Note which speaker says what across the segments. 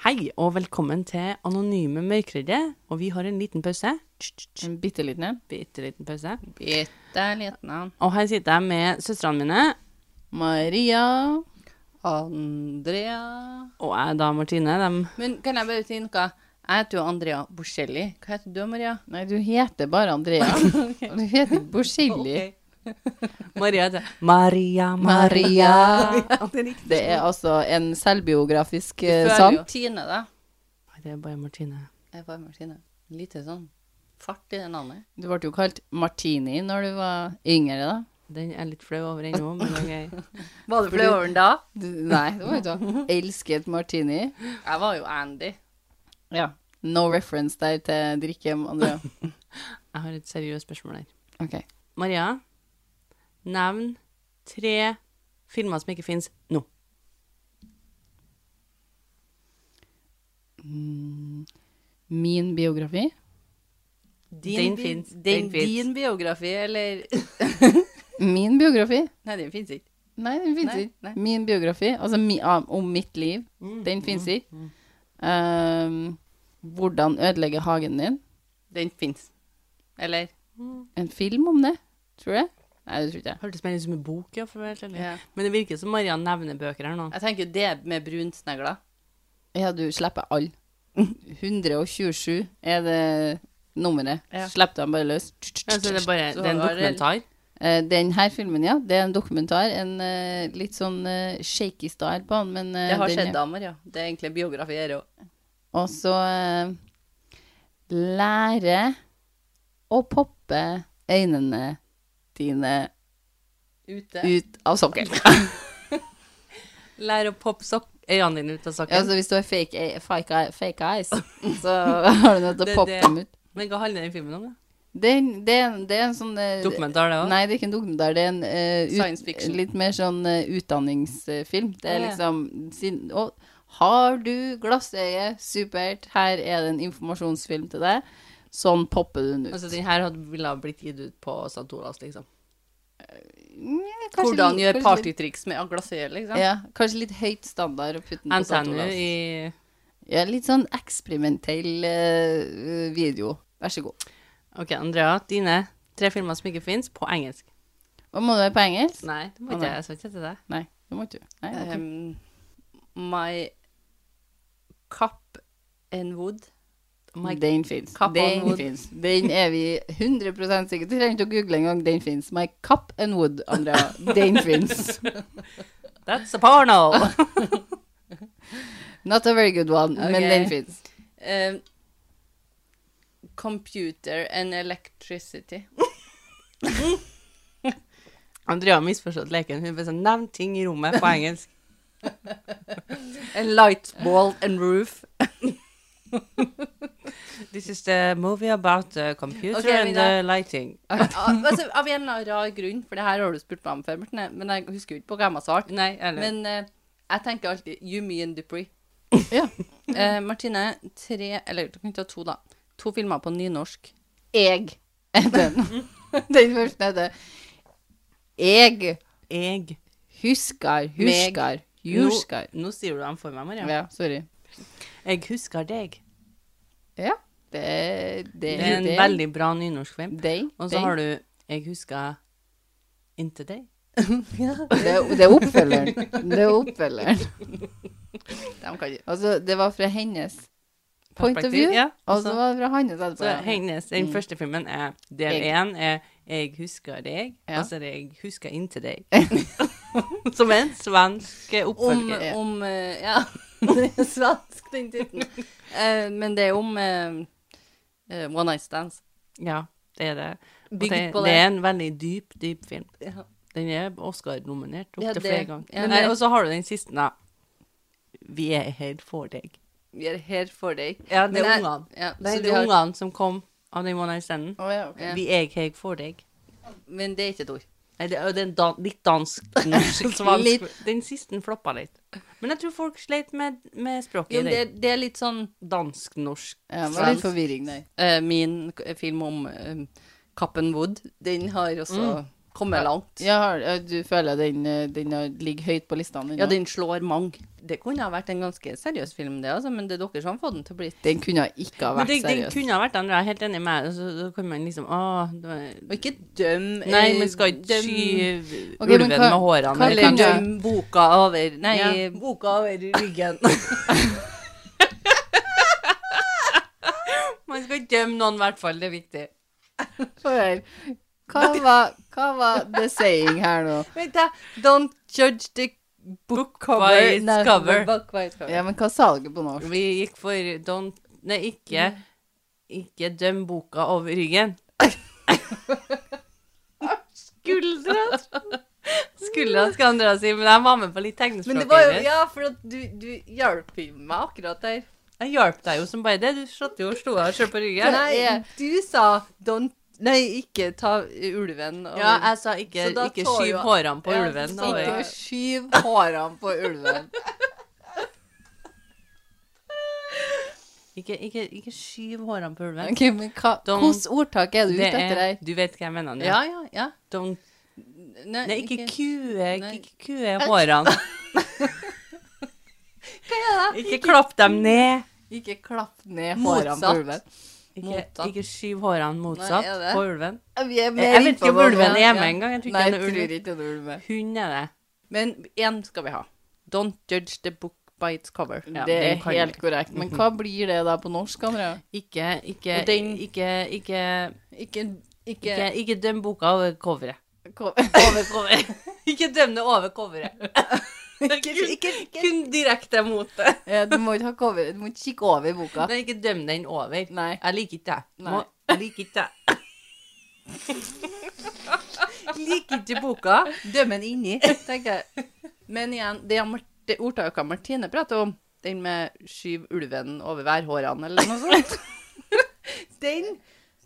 Speaker 1: Hei og velkommen til Anonyme mørkredde. Og vi har en liten pause.
Speaker 2: En bitte liten en.
Speaker 1: Bitte liten pause.
Speaker 2: Bitte liten en.
Speaker 1: Og her sitter jeg med søstrene mine,
Speaker 2: Maria. Andrea.
Speaker 1: og jeg da, Martine. De,
Speaker 2: Men kan jeg bare si noe? Jeg heter jo Andrea Borselli. Hva heter du, Maria? Nei, du heter bare Andrea. Og Du heter ikke Borselli.
Speaker 1: Maria heter Maria, Maria.
Speaker 2: Maria.
Speaker 1: Ja, det er riktig.
Speaker 2: Det er altså en selvbiografisk eh,
Speaker 3: Føler
Speaker 2: sang.
Speaker 3: jo Tine, da.
Speaker 1: Nei, det er bare Martine.
Speaker 3: Jeg er bare Martine. Lite sånn fart i det navnet.
Speaker 2: Du ble jo kalt Martini når du var yngre, da.
Speaker 1: Den er jeg litt flau over ennå, men ok.
Speaker 3: Var du flau over den da?
Speaker 2: Du, nei, det var jo ikke Elsket Martini.
Speaker 3: Jeg var jo Andy.
Speaker 2: Ja. No reference der til drikke, Andrea.
Speaker 1: Jeg har et seriøst spørsmål her.
Speaker 2: Ok.
Speaker 1: Maria, nevn tre filmer som ikke fins nå.
Speaker 2: Mm. Min biografi.
Speaker 1: Den
Speaker 3: bi-
Speaker 1: fins.
Speaker 3: Den,
Speaker 1: Den fins.
Speaker 3: din biografi, eller
Speaker 2: Min biografi.
Speaker 3: Nei, den fins ikke.
Speaker 2: Nei, den fins
Speaker 3: Nei,
Speaker 2: ikke.
Speaker 3: nei.
Speaker 2: Min biografi, altså mi, ah, om mitt liv,
Speaker 1: Mm.
Speaker 2: den fins
Speaker 3: Mm.
Speaker 2: ikke. Um, hvordan ødelegge hagen din.
Speaker 3: Den fins. Eller?
Speaker 2: En film om det, tror jeg. Nei, det tror ikke jeg.
Speaker 1: Mm. Hørtes mer ut som en bok, ja. for å være helt ærlig.
Speaker 3: Ja.
Speaker 1: Men det virker som Maria nevner bøker her nå.
Speaker 3: Jeg tenker jo det med brunsnegler.
Speaker 2: Ja, du slipper alle. 127 er det nummeret.
Speaker 3: Ja.
Speaker 2: Slipp dem bare løs.
Speaker 1: Ja, så det er bare
Speaker 3: Så
Speaker 1: det er en
Speaker 3: var det-
Speaker 1: dokumentar.
Speaker 2: Eh, den her filmen, ja, det er en dokumentar. En eh, litt sånn eh, shaky style på den, men eh,
Speaker 3: Det har
Speaker 2: den
Speaker 3: skjedd
Speaker 2: er-
Speaker 3: damer, ja. Det er egentlig biografi, det òg.
Speaker 2: Og så eh, lære å poppe øynene dine
Speaker 3: Ute.
Speaker 2: ut av sokkelen.
Speaker 1: Lær å poppe sok øynene dine ut av
Speaker 2: Ja,
Speaker 1: sokken.
Speaker 2: så hvis du har fake, e- fake, eye- fake eyes, så har du nødt til
Speaker 1: Det-
Speaker 2: å poppe
Speaker 1: det-
Speaker 2: dem ut.
Speaker 1: Men hva handler den filmen om? da?
Speaker 2: Det, er- det, er- Eh, det er en sånn eh,
Speaker 1: Dokumentar, det òg?
Speaker 2: Nei, det er ikke en dokumentar. Det er en eh, ut-
Speaker 3: Science fiction.
Speaker 2: litt mer sånn eh, utdanningsfilm. Det er
Speaker 1: Ah, ja.
Speaker 2: liksom sin, Å, har du glassøye? Supert. Her er det en informasjonsfilm til deg. Sånn popper du den ut.
Speaker 1: Altså, den her hadde, ville ha blitt gitt ut på St. Olavs, liksom.
Speaker 2: Kanskje
Speaker 3: Hvordan
Speaker 2: litt-
Speaker 3: gjøre
Speaker 2: kanskje litt-
Speaker 3: partytriks med glassøye, liksom.
Speaker 2: Ja, kanskje litt høyt standard å putte den på
Speaker 1: NTNU
Speaker 2: Santolas.
Speaker 1: i
Speaker 2: Ja, litt sånn eksperimentell eh, video. Vær så god.
Speaker 1: OK, Andrea, dine tre filmer som ikke fins, på engelsk.
Speaker 2: Og må du være på engelsk?
Speaker 1: Nei, Eh, det må
Speaker 2: Å,
Speaker 1: ikke
Speaker 2: nei.
Speaker 1: jeg. Jeg sa ikke til deg.
Speaker 2: Nei, det må ikke du. Nei, ok.
Speaker 3: Um, my cup and wood.
Speaker 1: My
Speaker 2: den fins.
Speaker 3: cup
Speaker 2: Den
Speaker 3: on wood.
Speaker 2: fins. Den er vi 100 sikre Du trenger ikke å google engang. Den fins. My cup and wood, Andrea. Den fins.
Speaker 1: That's a porno!
Speaker 2: Not a very good one, men
Speaker 3: Ok.
Speaker 2: den fins.
Speaker 3: Um, computer and electricity.
Speaker 1: Andrea har misforstått leken. Hun bare sånn Nevn ting i rommet på engelsk.
Speaker 3: A light ball and roof.
Speaker 1: This is the movie about the computer
Speaker 3: Ok,
Speaker 1: and
Speaker 3: Vidar.
Speaker 1: the lighting.
Speaker 3: altså, av en eller annen rar grunn, for det her har du spurt meg om før, Morten, men jeg husker jo ikke på hva jeg har svart.
Speaker 1: Nei, eller
Speaker 3: Men eh, jeg tenker alltid you, me and Dupree.
Speaker 2: Ja.
Speaker 3: Eh, Martine, tre Eller du kan ta to, da. To filmer på nynorsk.
Speaker 2: Jeg er den. Den første heter Jeg
Speaker 1: jeg
Speaker 2: husker,
Speaker 3: Meg.
Speaker 2: husker, husker.
Speaker 1: Nå, nå sier du dem for meg, Maria.
Speaker 2: Ja, sorry.
Speaker 1: Jeg husker deg.
Speaker 2: Ja. Det, det,
Speaker 1: Det er en
Speaker 2: det-
Speaker 1: veldig bra nynorskfilm.
Speaker 2: Dei.
Speaker 1: Og
Speaker 2: dei.
Speaker 1: så har du Jeg husker inntil deg.
Speaker 2: det, er- det er oppfølgeren. Det er oppfølgeren.
Speaker 3: De kan ikke
Speaker 2: Altså, det var fra hennes point of
Speaker 1: Perspektiv,
Speaker 2: view,
Speaker 1: ja.
Speaker 2: og så var det fra hans etterpå.
Speaker 1: Så
Speaker 2: ja.
Speaker 1: hennes, Den
Speaker 3: Mm.
Speaker 1: første filmen er Del
Speaker 2: Jeg.
Speaker 1: én er Jeg husker deg,
Speaker 2: Ja.
Speaker 1: og så er det Jeg husker inntil deg. Som er en svensk
Speaker 3: Om,
Speaker 1: oppfølger.
Speaker 2: Ja.
Speaker 3: om eh, Ja, det er svensk, den tittelen. Eh, men det er om eh, eh, One Night Stands.
Speaker 1: Ja, det er det. Og
Speaker 3: Bygd
Speaker 1: det,
Speaker 3: på
Speaker 1: det
Speaker 3: det.
Speaker 1: er en veldig dyp, dyp film.
Speaker 3: Ja.
Speaker 1: Den er Oscar-nominert
Speaker 3: Ja,
Speaker 1: opptil
Speaker 3: det-
Speaker 1: flere ganger.
Speaker 3: ja,
Speaker 1: Nei,
Speaker 3: det-
Speaker 1: og så har du den siste, da. Vi er her for deg.
Speaker 3: Vi er her for deg.
Speaker 1: Ja, det
Speaker 3: Men
Speaker 1: er
Speaker 3: jeg-
Speaker 1: ungene.
Speaker 3: Ja,
Speaker 1: Det
Speaker 3: så
Speaker 1: er
Speaker 3: vi har,
Speaker 1: ungene som kom av den måneden i stedet.
Speaker 2: Å, ja, ok.
Speaker 3: Ja.
Speaker 1: Vi er her for deg.
Speaker 3: men det er ikke et ord.
Speaker 1: Nei, det er det er en dan litt dansk norsk svansk.
Speaker 2: Litt.
Speaker 1: Den siste floppa litt. Men jeg tror folk sleit med, med språket.
Speaker 3: Jo,
Speaker 1: i
Speaker 3: men det,
Speaker 1: den.
Speaker 3: det er litt sånn
Speaker 1: Dansk-norsk.
Speaker 2: Ja, det var litt
Speaker 3: Sant.
Speaker 2: forvirring der.
Speaker 3: Eh, min k- film om eh, Kappen Wood, den har også Kommer langt.
Speaker 2: Mm. Ja, har- ja, du føler den, eh, den har- ligger høyt på listene?
Speaker 3: Ja, den slår mange. Det kunne ha vært en ganske seriøs film, det, altså, men det er dere som har fått den til å bli
Speaker 2: Den kunne ikke ha
Speaker 1: Men
Speaker 2: vært
Speaker 1: det, den
Speaker 2: seriøs.
Speaker 1: kunne ha vært den, jeg er helt enig med deg. Så, så kan man liksom Å, det var
Speaker 3: Og ikke døm
Speaker 1: Nei,
Speaker 3: eh,
Speaker 1: man skal ikke
Speaker 3: døm-
Speaker 1: skyve
Speaker 2: Ok, men
Speaker 1: ulven
Speaker 2: hva-
Speaker 1: med hårene.
Speaker 2: hva
Speaker 1: eller
Speaker 3: Eller
Speaker 1: noe.
Speaker 2: legger-
Speaker 3: døm boka over Nei,
Speaker 1: Ja.
Speaker 3: boka over ryggen.
Speaker 1: Man skal ikke dømme noen, i hvert fall. Det er viktig.
Speaker 2: Få høre. Hva var, hva var the saying her nå?
Speaker 3: Vent, da. Don't judge the book cover.
Speaker 1: by its
Speaker 3: Nei,
Speaker 1: cover.
Speaker 3: book by its cover.
Speaker 2: Ja, men hva sa dere på norsk?
Speaker 1: Vi gikk for don't Nei, ikke
Speaker 3: Mm.
Speaker 1: Ikke døm boka over ryggen. Skuldra Skuldra skal Andrea si, men jeg var med på litt
Speaker 3: Men det var jo
Speaker 1: tegnespråk.
Speaker 3: Ja, for at du, du hjalp jo meg akkurat der.
Speaker 1: Jeg hjalp deg jo som bare det. Du satt jo og slo deg sjøl på ryggen.
Speaker 3: Nei,
Speaker 2: jeg-
Speaker 3: du sa don't Nei, ikke ta ulven. over-
Speaker 1: Ja, jeg sa ikke,
Speaker 3: Så da
Speaker 1: ikke
Speaker 3: tar
Speaker 1: skyv
Speaker 3: jo-
Speaker 1: hårene på
Speaker 3: Ja,
Speaker 1: ulven.
Speaker 3: så
Speaker 1: over.
Speaker 3: da-
Speaker 2: Ikke skyv hårene på ulven.
Speaker 1: Ikke, ikke, ikke skyv hårene på ulven.
Speaker 2: Ok, men hva,
Speaker 1: Don't-
Speaker 2: Hvilket ordtak er du ute
Speaker 1: Det
Speaker 2: etter
Speaker 1: er,
Speaker 2: her?
Speaker 1: du vet hva jeg mener? Andrea.
Speaker 3: ja, ja, ja.
Speaker 1: Don't
Speaker 3: Nei,
Speaker 1: Nei, ikke kue,
Speaker 3: Nei.
Speaker 1: ikke kue hårene. Ikke klapp dem ned.
Speaker 2: Ikke klapp ned
Speaker 3: Motsatt.
Speaker 2: hårene på ulven.
Speaker 1: Ikke,
Speaker 3: Motsatt.
Speaker 1: ikke skyv hårene motsatt
Speaker 3: Nei, er det?
Speaker 1: på ulven.
Speaker 2: Vi er
Speaker 1: Jeg, jeg vet ikke om ulven er hjemme engang. Jeg tror
Speaker 2: Nei,
Speaker 1: ikke
Speaker 2: jeg
Speaker 1: den er
Speaker 2: tror
Speaker 1: ulv.
Speaker 2: ikke det er ulv.
Speaker 1: Hund er det.
Speaker 3: Men én skal vi ha. Don't judge the book by its cover.
Speaker 1: Ja,
Speaker 2: det
Speaker 1: den
Speaker 2: er
Speaker 1: kan
Speaker 2: helt
Speaker 1: vi.
Speaker 2: korrekt. Men hva blir det da på norsk, Andrea?
Speaker 1: Ikke, ikke,
Speaker 3: Og den-
Speaker 1: ikke, ikke,
Speaker 3: Ikke, ikke,
Speaker 1: ikke, ikke døm boka over coveret.
Speaker 2: Hva-
Speaker 1: Over coveret. ikke døm det over coveret. kun, kun direkte mot det.
Speaker 2: Ja, Du må ikke ha cover, du må ikke kikke over boka.
Speaker 1: Nei, ikke døm den over.
Speaker 2: Nei.
Speaker 1: Jeg liker ikke det. Må-
Speaker 2: Nei.
Speaker 1: Jeg liker ikke det. liker ikke boka.
Speaker 3: Døm den inni, tenker jeg. Men igjen, det, er Mar- det ordtaket Martine prater om, den med 'skyv ulven over værhårene' eller noe sånt, den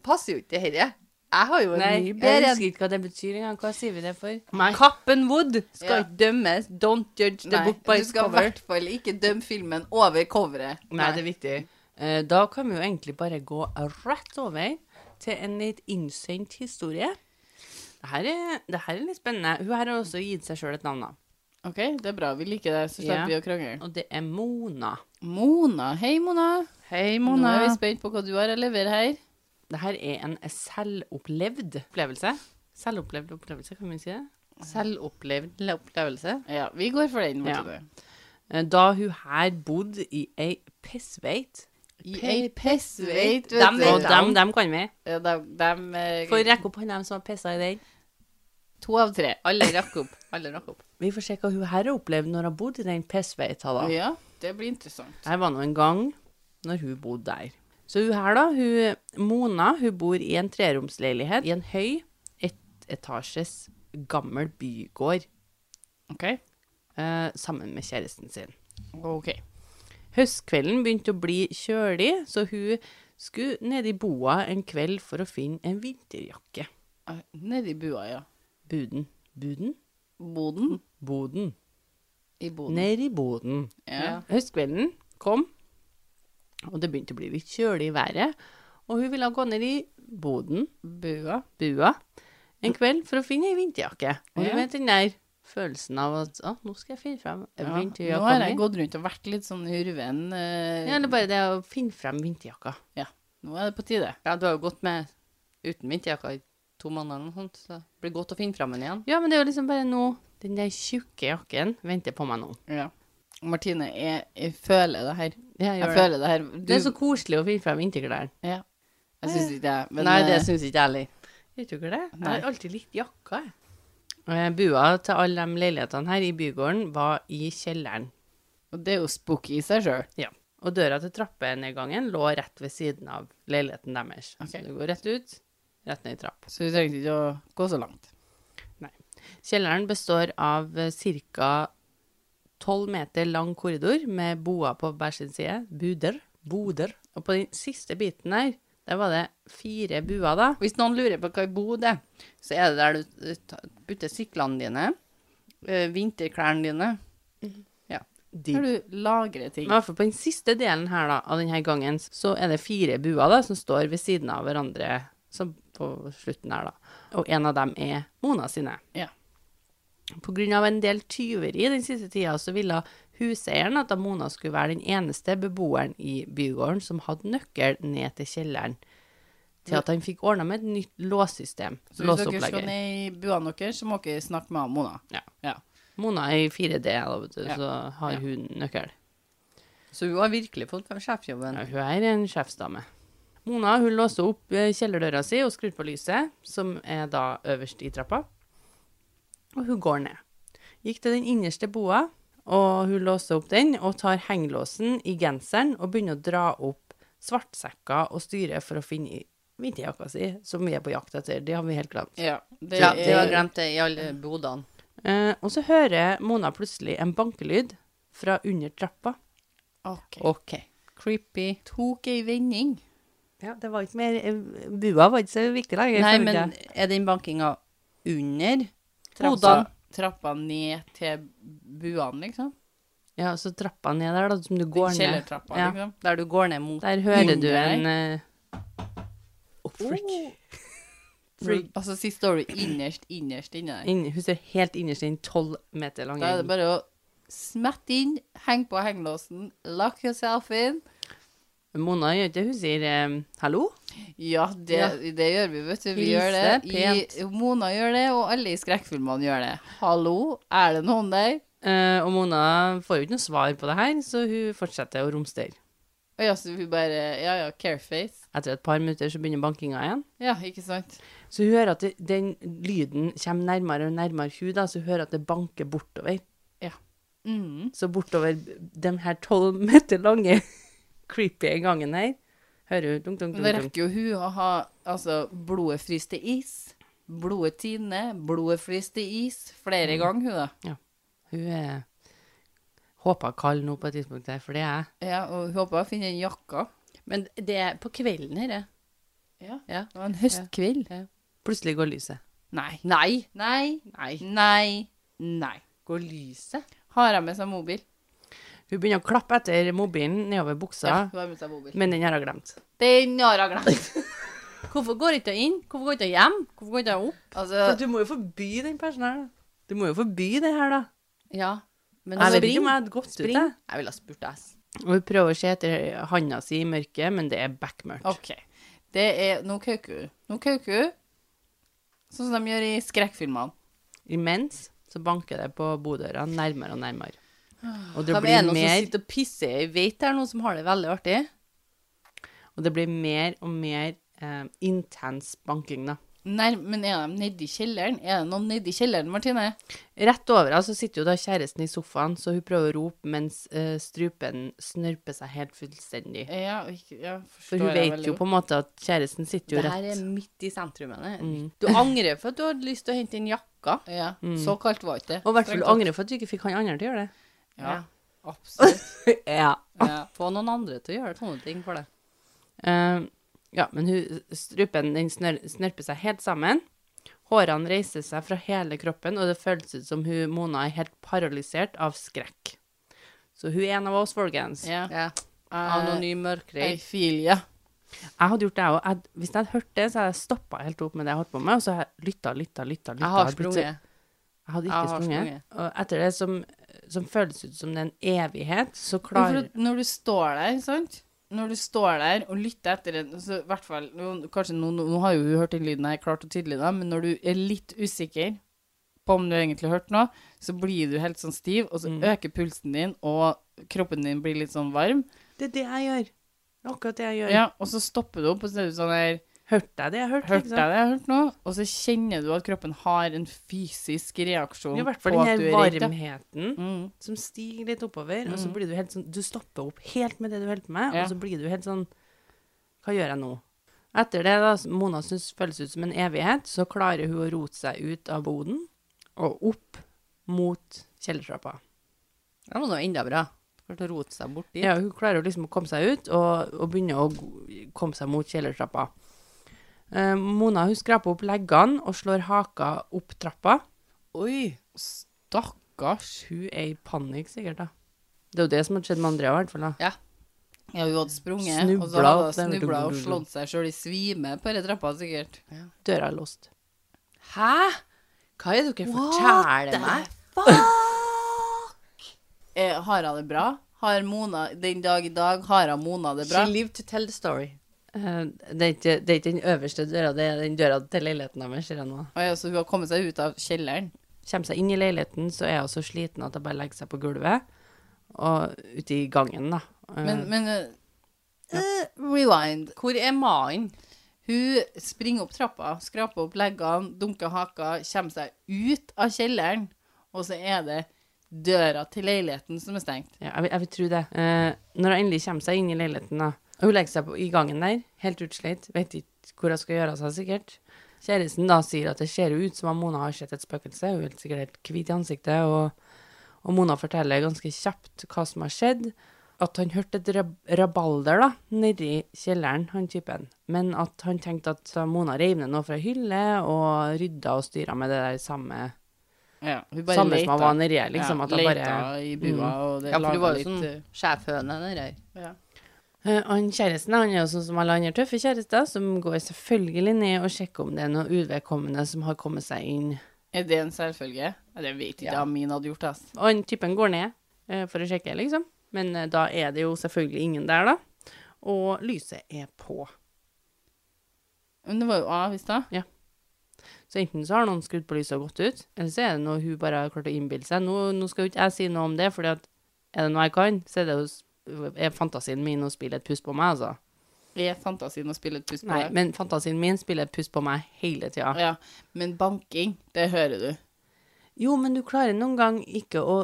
Speaker 3: passer jo ikke til dette. Jeg har jo en
Speaker 1: Nei,
Speaker 3: mye
Speaker 1: jeg
Speaker 3: bedre
Speaker 1: husker ikke hva det betyr engang. Hva sier vi det for?
Speaker 3: en. Kappen Wood skal
Speaker 2: Ja.
Speaker 3: ikke dømmes. Don't judge the
Speaker 2: Nei,
Speaker 3: book by
Speaker 2: du
Speaker 3: its
Speaker 2: skal i
Speaker 3: cover.
Speaker 2: hvert fall ikke dømme filmen over coveret.
Speaker 1: Nei, det er viktig. Eh, Da kan vi jo egentlig bare gå rett over til en litt innsendt historie. Det her er, det her er litt spennende. Hun her har også gitt seg sjøl et navn, da.
Speaker 2: OK, det er bra. Vi liker det, så slipper vi
Speaker 1: Ja.
Speaker 2: å krangle.
Speaker 1: Og det er Mona.
Speaker 2: Mona. Hei, Mona.
Speaker 3: Hei,
Speaker 2: Nå
Speaker 3: Mona.
Speaker 2: er vi spent på hva du har å levere her.
Speaker 1: Det her er en selvopplevd opplevelse. Selvopplevd opplevelse, kan vi si det?
Speaker 3: Selvopplevd opplevelse.
Speaker 2: Ja, vi går for den.
Speaker 1: Ja.
Speaker 2: Martine.
Speaker 1: Eh, Da hun her bodde i ei pissveit.
Speaker 2: I
Speaker 3: Pe-
Speaker 2: ei pissveit, vet
Speaker 3: Dem
Speaker 2: du.
Speaker 3: vet
Speaker 1: Og
Speaker 3: jeg.
Speaker 1: dem, dem kan vi.
Speaker 2: Ja, dem- dem, eh,
Speaker 1: Får rekke opp hånda dem som har pissa i den.
Speaker 2: To av tre.
Speaker 3: Alle rakk opp. Alle rakk opp.
Speaker 1: Vi får se hva hun her har opplevd når hun har bodd i den pissveita, da.
Speaker 2: Ja, det blir interessant.
Speaker 1: Jeg var nå en gang når hun bodde der. Så hun her, da, hun, Mona, hun bor i en treromsleilighet i en høy, ettetasjes gammel bygård
Speaker 2: OK.
Speaker 1: eh, sammen med kjæresten sin.
Speaker 2: Ok.
Speaker 1: Høstkvelden begynte å bli kjølig, så hun skulle ned i boa en kveld for å finne en vinterjakke.
Speaker 2: Eh, Nedi bua, ja.
Speaker 1: Buden. Buden?
Speaker 2: Boden?
Speaker 1: Boden.
Speaker 2: I boden.
Speaker 1: Ned i boden.
Speaker 2: Ja.
Speaker 1: Høstkvelden kom, og det begynte å bli litt kjølig i været, og hun ville gå ned i boden
Speaker 2: Bua.
Speaker 1: bua en kveld for å finne ei vinterjakke. Og du
Speaker 2: Ja.
Speaker 1: vet den der følelsen av at å, nå skal jeg finne frem
Speaker 2: Ja. Nå har
Speaker 1: vinterjakka
Speaker 2: jeg
Speaker 1: mi.
Speaker 2: gått rundt og vært litt sånn urven. eh,
Speaker 1: Ja, eller bare det å finne frem vinterjakka.
Speaker 2: Nå er det på tide.
Speaker 3: Ja, du har jo gått med uten vinterjakka i to måneder eller noe sånt, så det blir godt å finne fram den igjen.
Speaker 1: Ja, men det er jo liksom bare nå Den der tjukke jakken venter på meg nå.
Speaker 2: Ja. Martine, jeg, jeg føler det her.
Speaker 1: Jeg,
Speaker 2: Jeg
Speaker 1: gjør det.
Speaker 2: føler det her. Du,
Speaker 1: det er så koselig å finne frem vinterklærne.
Speaker 2: ja. Jeg syns ikke det. Men
Speaker 3: Nei, det
Speaker 2: eh,
Speaker 3: syns ikke jeg heller.
Speaker 1: Vet du ikke det? Jeg
Speaker 2: Nei.
Speaker 1: har alltid likt jakka, jeg. Eh, Bua til alle de leilighetene her i bygården var i kjelleren.
Speaker 2: eh, og det er jo spooky i seg sjøl.
Speaker 1: Ja. Og døra til trappenedgangen lå rett ved siden av leiligheten deres.
Speaker 2: Ok.
Speaker 1: Så du går rett ut, rett ned i trapp.
Speaker 2: Så vi trengte ikke å gå så langt.
Speaker 1: Kjelleren består av ca. 12 meter lang korridor med boer på hver sin side. Buder. Boder. Og på den siste biten her, der var det fire buer, da.
Speaker 3: Hvis noen lurer på hva ei bod er, så er det der du eh, ta- putter syklene dine, eh, vinterklærne dine
Speaker 1: De.
Speaker 2: Når du lagrer ting.
Speaker 1: Men i hvert fall på den siste delen her da, av denne gangen, så er det fire buer da, som står ved siden av hverandre, som på slutten her, da. Og en av dem er Mona sine.
Speaker 2: Ja.
Speaker 1: På grunn av en del tyveri den siste tida, så ville huseieren at da Mona skulle være den eneste beboeren i bygården som hadde nøkkel ned til kjelleren, til at han fikk ordna med et nytt låssystem.
Speaker 2: Så hvis dere skal
Speaker 1: låseopplegger.
Speaker 2: ned i buene deres, så må dere snakke med Mona.
Speaker 1: Ja.
Speaker 2: Ja.
Speaker 1: Mona er i 4D, da, vet du,
Speaker 2: Ja.
Speaker 1: så har
Speaker 2: Ja.
Speaker 1: hun nøkkel.
Speaker 3: Så hun har virkelig fått sjefjobben.
Speaker 1: Ja, hun er en sjefsdame. Mona hun låser opp eh, kjellerdøra si og skrur på lyset, som er da øverst i trappa. Og hun går ned. Gikk til den innerste boa, og hun låser opp den og tar henglåsen i genseren og begynner å dra opp svartsekker og styre for å finne i- vinterjakka si, som vi er på jakt etter. Det har vi helt glemt.
Speaker 2: Ja, det
Speaker 3: Ja, de har
Speaker 2: er
Speaker 3: glemt det i alle bodene.
Speaker 1: Eh, og så hører Mona plutselig en bankelyd fra under trappa.
Speaker 2: Ok.
Speaker 3: OK. Creepy.
Speaker 2: Tok ei vending.
Speaker 1: Ja, det var ikke mer eh, Bua var ikke så viktig lenger.
Speaker 3: Nei,
Speaker 1: følte jeg.
Speaker 3: men er den bankinga under?
Speaker 2: Trappa, trappa ned til buene, liksom.
Speaker 1: Ja, så trappa ned der, da, som du går ned.
Speaker 2: Kjellertrappa,
Speaker 1: Ja.
Speaker 2: liksom.
Speaker 3: Der du går ned mot
Speaker 1: Der hører
Speaker 2: Under
Speaker 1: du
Speaker 2: der.
Speaker 1: en eh, Å, freak.
Speaker 2: Oh. For, altså, sist står du innerst, innerst inne der.
Speaker 1: Inn- Hun står helt innerst i en tolv meter lang
Speaker 2: Da er det
Speaker 1: gjeng.
Speaker 2: bare å smette inn, heng på hengelåsen, lock yourself in.
Speaker 1: Mona gjør ikke det, hun sier eh, 'hallo'.
Speaker 2: Ja, det, det gjør vi, vet du. Vi
Speaker 1: Hilse
Speaker 2: gjør det. I, Mona gjør det, og alle i skrekkfilmene gjør det. Hallo, er det noen der?
Speaker 1: Eh, og Mona får jo ikke noe svar på det her, så hun fortsetter å romstere.
Speaker 2: Og ja, så vi bare Ja ja, careface.
Speaker 1: Etter et par minutter så begynner bankinga igjen.
Speaker 2: Ja, ikke sant?
Speaker 1: Så hun hører at det, den lyden kommer nærmere og nærmere hun da, så hun hører at det banker bortover.
Speaker 2: Mm.
Speaker 1: Så bortover den her tolv meter lange creepy gangen her, hører hun dunk, dunk,
Speaker 2: Men det
Speaker 1: dunk, dunk.
Speaker 2: rekker jo hun å ha Altså, blodet fryser til is. Blodet tiner. Blodet fryser til is flere ganger, hun da.
Speaker 1: Hun er håpa kald nå på et tidspunkt der, for det er jeg.
Speaker 2: Ja, og hun håper å finne en jakka.
Speaker 3: Men det er på kvelden her, det.
Speaker 2: Ja.
Speaker 3: Ja.
Speaker 2: Det var en høstkveld.
Speaker 1: Plutselig går lyset.
Speaker 2: Nei.
Speaker 3: Nei.
Speaker 2: Nei.
Speaker 3: Nei.
Speaker 2: Nei. Nei.
Speaker 3: Går lyset?
Speaker 2: Har jeg med seg mobil?
Speaker 1: Hun begynner å klappe etter mobilen nedover buksa,
Speaker 2: Ja, hun har med seg mobil.
Speaker 1: men den har hun glemt.
Speaker 2: Den har jeg glemt.
Speaker 3: Hvorfor går ikke hun inn? Hvorfor går ikke hun hjem? Hvorfor går ikke hun opp?
Speaker 2: Altså,
Speaker 1: du må jo forby den personen her, da. Du må jo forby det her, da.
Speaker 3: Ja. Men altså,
Speaker 1: Jeg vet
Speaker 3: spring.
Speaker 1: ikke om jeg hadde gått ut,
Speaker 3: Spring.
Speaker 1: jeg.
Speaker 3: Jeg ville ha spurt deg. ass.
Speaker 1: Og hun prøver å se etter handa si i mørket, men det er bekmørkt.
Speaker 2: OK. Det er noe kauku. Noe kauku, sånn som de gjør i skrekkfilmene.
Speaker 1: Imens så banker det på bodøra nærmere og nærmere. Og det
Speaker 3: Hvem er
Speaker 1: blir
Speaker 3: det noen som
Speaker 1: mer
Speaker 3: sitter og pisser? Jeg vet det er noen som har det veldig artig.
Speaker 1: og det blir mer og mer eh, intens banking, da.
Speaker 2: Nei, men er de nedi kjelleren? Er det noen nedi kjelleren, Martine?
Speaker 1: Rett over henne så sitter jo da kjæresten i sofaen, så hun prøver å rope mens eh, strupen snørper seg helt fullstendig.
Speaker 2: Ja, ikke, ja
Speaker 1: For
Speaker 2: forstår
Speaker 1: hun
Speaker 2: jeg
Speaker 1: vet
Speaker 2: veldig
Speaker 1: jo
Speaker 2: godt.
Speaker 1: på en måte at kjæresten sitter jo
Speaker 3: Det her
Speaker 1: rett. Mm.
Speaker 3: er midt i sentrum. henne. Du angrer for at du hadde lyst til å hente inn jakka.
Speaker 2: ja,
Speaker 1: Mm.
Speaker 2: Så kaldt var ikke det.
Speaker 1: Og i hvert fall
Speaker 2: Strengt
Speaker 1: du angrer for at du ikke fikk han andre til å gjøre det.
Speaker 2: tatt. Ja, absolutt.
Speaker 1: ja.
Speaker 2: Ja.
Speaker 3: Få noen andre til å gjøre sånne ting for deg.
Speaker 1: Eh, ja, men hun, strupen den snør, snørper seg helt sammen. Hårene reiser seg fra hele kroppen, og det føles ut som hun, Mona er helt paralysert av skrekk. Så hun er en av oss, folkens.
Speaker 2: Ja.
Speaker 3: Ja.
Speaker 2: Eh,
Speaker 3: Anonym
Speaker 2: I
Speaker 3: mørkredd.
Speaker 2: feel ya.
Speaker 1: Jeg hadde gjort det, jeg òg. Hvis jeg hadde hørt det, så hadde jeg stoppa helt opp med det jeg holdt på med, og så har jeg lytta, lytta, lytta.
Speaker 3: Jeg har sprunget.
Speaker 1: Jeg hadde ikke
Speaker 3: Jeg har
Speaker 1: sprunget.
Speaker 3: sprunget.
Speaker 1: Og etter det som, som føles ut som det er en evighet, så
Speaker 2: Men For
Speaker 1: klarer
Speaker 2: at når du står der, sant? Når du står der og lytter etter en så i hvert fall, nå- Kanskje nå, nå nå har jo hun hørt den lyden her klart og tydelig, da, men når du er litt usikker på om du egentlig har hørt noe, så blir du helt sånn stiv, og så
Speaker 1: Mm.
Speaker 2: øker pulsen din, og kroppen din blir litt sånn varm.
Speaker 1: Det er det jeg gjør. Det er Akkurat det jeg gjør.
Speaker 2: Ja, og så stopper du opp, og så er du sånn her
Speaker 1: Hørte jeg det jeg hørte?
Speaker 2: Hørte jeg
Speaker 1: liksom?
Speaker 2: det jeg har hørt nå? Og så kjenner du at kroppen har en fysisk reaksjon
Speaker 1: Det er I hvert
Speaker 2: på
Speaker 1: fall den
Speaker 2: at du
Speaker 1: her
Speaker 2: er redd. da.
Speaker 1: varmheten
Speaker 2: Mm.
Speaker 1: som stiger litt oppover, og så
Speaker 2: Mhm.
Speaker 1: blir du helt sånn Du stopper opp helt med det du holder på med,
Speaker 2: Ja.
Speaker 1: og så blir du helt sånn Hva gjør jeg nå? Etter det, da, som Mona syns føles ut som en evighet, så klarer hun å rote seg ut av boden og opp mot kjellertrappa.
Speaker 3: Det var noe enda bra. Klarte å rote seg bort dit.
Speaker 1: Ja, hun klarer jo liksom å komme seg ut og, og begynne å g- komme seg mot kjellertrappa. Eh, Mona hun skraper opp leggene og slår haka opp trappa.
Speaker 3: Oi!
Speaker 2: Stakkars.
Speaker 1: Hun er i panikk sikkert, da. Det er jo det som har skjedd med Andrea, i hvert fall. da.
Speaker 3: Ja.
Speaker 2: Ja, hun hadde sprunget, og så
Speaker 1: Snubla
Speaker 2: hadde
Speaker 1: opp
Speaker 2: hun
Speaker 1: den, vet du,
Speaker 2: snubla og
Speaker 1: glu, glu, glu.
Speaker 2: slått seg sjøl i svime på denne trappa, sikkert.
Speaker 1: Døra er låst.
Speaker 3: Hæ? Hva er det dere forteller meg?
Speaker 2: Eh, har hun det bra? Har Mona den dag i dag Har hun Mona det bra?
Speaker 3: She lived to tell the story.
Speaker 1: Eh, Det er, ikke, det er ikke den øverste døra, det er den døra til leiligheten deres. ser jeg nå.
Speaker 2: Å ja, så altså, hun har kommet seg ut av kjelleren?
Speaker 1: Kommer seg inn i leiligheten, så er hun så sliten at hun bare legger seg på gulvet. Og ute i gangen, da. Eh,
Speaker 2: Men, men eh, eh, Rewind.
Speaker 3: Hvor er mannen?
Speaker 2: Hun springer opp trappa, skraper opp leggene, dunker haka, kommer seg ut av kjelleren, og så er det døra til leiligheten som er stengt.
Speaker 1: ja, jeg, vil- jeg vil tro det. Eh, når hun endelig kommer seg inn i leiligheten, da. Hun legger seg på, i gangen der, helt utslitt. Vet ikke hvor hun skal gjøre av seg, sikkert. Kjæresten da sier at det ser jo ut som om Mona har sett et spøkelse. Hun er helt sikkert helt hvit i ansiktet. Og, og Mona forteller ganske kjapt hva som har skjedd. At han hørte et rab rabalder da, nedi kjelleren, han typen. Men at han tenkte at Mona reiv ned noe fra hylle og rydda og styra med det der samme
Speaker 2: Ja, hun bare
Speaker 1: Samme som han
Speaker 2: leter.
Speaker 1: var nedi, liksom. at han
Speaker 2: leter
Speaker 1: bare... Mm.
Speaker 2: i bua, og det
Speaker 3: Ja, for du var jo
Speaker 2: laget
Speaker 3: sånn
Speaker 2: litt,
Speaker 3: sjefhøne, den der.
Speaker 2: eh, ja.
Speaker 1: Eh, Han kjæresten han er jo sånn som alle andre tøffe kjærester, som går selvfølgelig ned og sjekker om det er noe uvedkommende som har kommet seg inn.
Speaker 2: Er det en selvfølge? Ja, det vet ikke jeg
Speaker 3: Ja.
Speaker 2: om min hadde gjort, ass.
Speaker 1: Og han typen går ned eh, for å sjekke, liksom. Men eh, da er det jo selvfølgelig ingen der, da. Og lyset er på.
Speaker 2: Men det var jo av i stad.
Speaker 1: Så enten så har noen skrudd på lyset og gått ut, eller så er det noe hun bare har klart å innbille seg. Nå, nå skal jo ikke jeg si noe om det, for er det noe jeg kan, så er det jo s- er fantasien min å spille et puss på meg, altså.
Speaker 2: Er fantasien å spille et pust på
Speaker 1: Nei,
Speaker 2: det?
Speaker 1: men fantasien min spiller et puss på meg hele tida.
Speaker 2: Ja, men banking, det hører du.
Speaker 1: Jo, men du klarer noen gang ikke å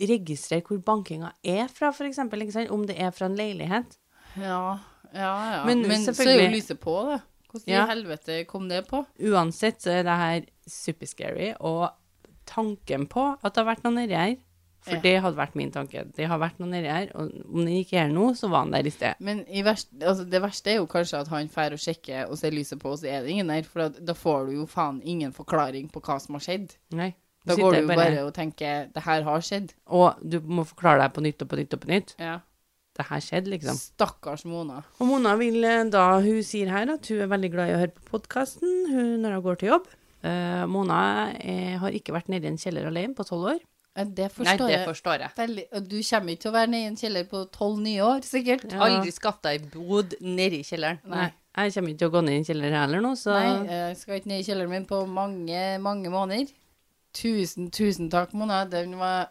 Speaker 1: registrere hvor bankinga er fra, for eksempel, ikke sant? om det er fra en leilighet.
Speaker 2: Ja, ja, ja. Men,
Speaker 1: Men
Speaker 2: så er jo
Speaker 1: selvfølgelig-
Speaker 2: lyset på, da. Hvordan
Speaker 1: Ja.
Speaker 2: i helvete kom det på?
Speaker 1: Uansett så er det her superscary, og tanken på at det har vært noen nedi her, for
Speaker 2: Ja.
Speaker 1: det hadde vært min tanke, det har vært noen nedi her, og om den ikke er her nå, så var den der i sted.
Speaker 2: Men i verst, altså det verste er jo kanskje at han drar og sjekker, og ser lyset på, og så er det ingen der. For at, da får du jo faen ingen forklaring på hva som har skjedd.
Speaker 1: Nei. Du
Speaker 2: Da
Speaker 1: sitter
Speaker 2: går du jo
Speaker 1: bare-
Speaker 2: bare og tenker 'det her har skjedd'.
Speaker 1: Og du må forklare deg på nytt og på nytt og på nytt.
Speaker 2: Ja.
Speaker 1: Det her skjedde, liksom.
Speaker 2: Stakkars Mona.
Speaker 1: Og Mona vil eh, da, hun sier her at hun er veldig glad i å høre på podkasten når hun går til jobb. Eh, Mona eh, har ikke vært nede i en kjeller alene på tolv år.
Speaker 2: Ja, Det
Speaker 3: Nei,
Speaker 2: forstår
Speaker 3: det
Speaker 2: jeg.
Speaker 3: forstår jeg.
Speaker 2: Veldig, og du kommer ikke til å være nede i en kjeller på tolv nye år, sikkert.
Speaker 1: Ja.
Speaker 3: Aldri skaff deg ei bod nedi kjelleren.
Speaker 1: Nei. Jeg kommer ikke til å gå ned i en kjeller heller nå, så
Speaker 2: Nei, eh, jeg skal ikke ned i kjelleren min på mange, mange måneder. Tusen, tusen takk, Mona. Den var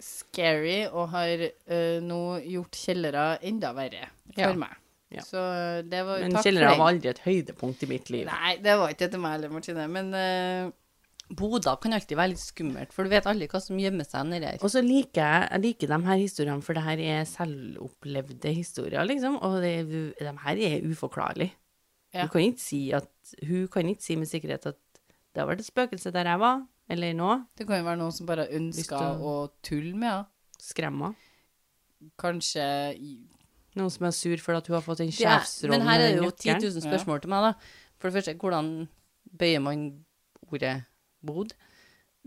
Speaker 2: scary og har eh, nå gjort kjellere enda verre for
Speaker 1: Ja.
Speaker 2: meg.
Speaker 1: Ja.
Speaker 2: Så det var
Speaker 1: Men
Speaker 2: takk
Speaker 1: kjelleren
Speaker 2: for
Speaker 1: var
Speaker 2: den.
Speaker 1: aldri et høydepunkt i mitt liv.
Speaker 2: Nei, det var ikke etter meg heller, Martine. Men eh,
Speaker 3: Boder kan alltid være litt skummelt, for du vet aldri hva som gjemmer seg nedi her.
Speaker 1: Og så liker jeg, jeg liker de her historiene, for det her er selvopplevde historier, liksom. Og det, de her er uforklarlige.
Speaker 2: Ja.
Speaker 1: Du kan ikke si at, hun kan ikke si med sikkerhet at det har vært et spøkelse der jeg var, eller nå.
Speaker 2: det kan jo være noen som
Speaker 1: Lyst
Speaker 2: bare
Speaker 1: til
Speaker 2: ønsker å
Speaker 1: å-
Speaker 2: tulle med henne.
Speaker 1: Skremma.
Speaker 2: Kanskje i-
Speaker 1: Noen som er sur for at hun har fått en
Speaker 3: Det er-
Speaker 1: sjefsrolle.
Speaker 3: Men her
Speaker 1: med
Speaker 3: er det
Speaker 1: den
Speaker 3: jo 10
Speaker 1: nøkkelen.
Speaker 3: 000 spørsmål til meg, da. For det første, hvordan bøyer man ordet bod?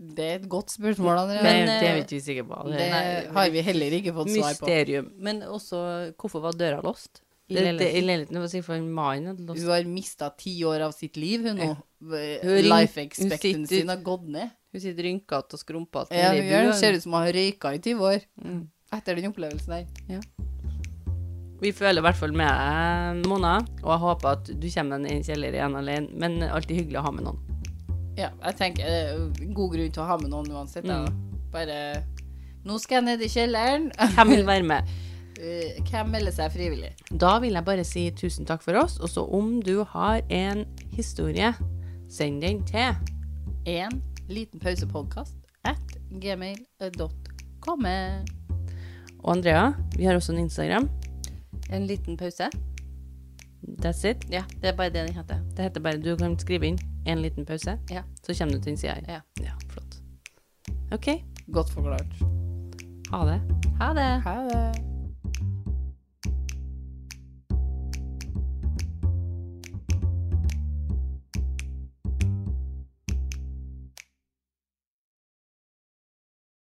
Speaker 2: Det er et godt spørsmål,
Speaker 1: Det,
Speaker 2: Andrea.
Speaker 3: Men,
Speaker 1: det er
Speaker 3: eh,
Speaker 1: vi ikke sikre på.
Speaker 2: det
Speaker 1: Det er
Speaker 3: Nei,
Speaker 2: har vi heller ikke fått svar på.
Speaker 1: mysterium.
Speaker 3: Men også, hvorfor var døra låst? I
Speaker 1: I det, det,
Speaker 3: leiligheten.
Speaker 1: I leiligheten var sikkert for mannen hadde låst
Speaker 2: Hun har mista ti år av sitt liv, hun nå.
Speaker 3: Hun ring-
Speaker 2: Life
Speaker 3: hun
Speaker 2: expectancyen
Speaker 3: sitter-
Speaker 2: har gått ned.
Speaker 3: Hun sitter rynkete og skrumpete.
Speaker 2: Ja,
Speaker 3: nede i
Speaker 2: hun gjør det.
Speaker 3: buen.
Speaker 2: Ser ut som hun har røyka i 20 år.
Speaker 1: Mm.
Speaker 2: Etter den opplevelsen der.
Speaker 1: Vi føler i hvert fall med deg, Mona, og jeg håper at du kommer deg ned i en kjeller igjen alene, men alltid hyggelig å ha med noen.
Speaker 2: Ja, jeg tenker det er jo god grunn til å ha med noen uansett. da.
Speaker 3: Mm.
Speaker 2: Bare Nå skal jeg ned i kjelleren.
Speaker 1: Hvem vil være med?
Speaker 2: Eh, Hvem melder seg frivillig?
Speaker 1: Da vil jeg bare si tusen takk for oss, og så om du har en historie, send den til.
Speaker 2: En liten pausepodkast at gmail.com.
Speaker 1: Og Andrea, vi har også en Instagram.
Speaker 3: En liten pause.
Speaker 1: That's it.
Speaker 3: Ja, det er bare det den heter.
Speaker 1: Det heter bare du kan skrive inn en liten pause,
Speaker 3: Ja.
Speaker 1: så kommer du til den sida her.
Speaker 3: Ja.
Speaker 1: ja, flott. OK.
Speaker 2: Godt forklart.
Speaker 1: Ha det.
Speaker 3: Ha det.
Speaker 2: Ha det.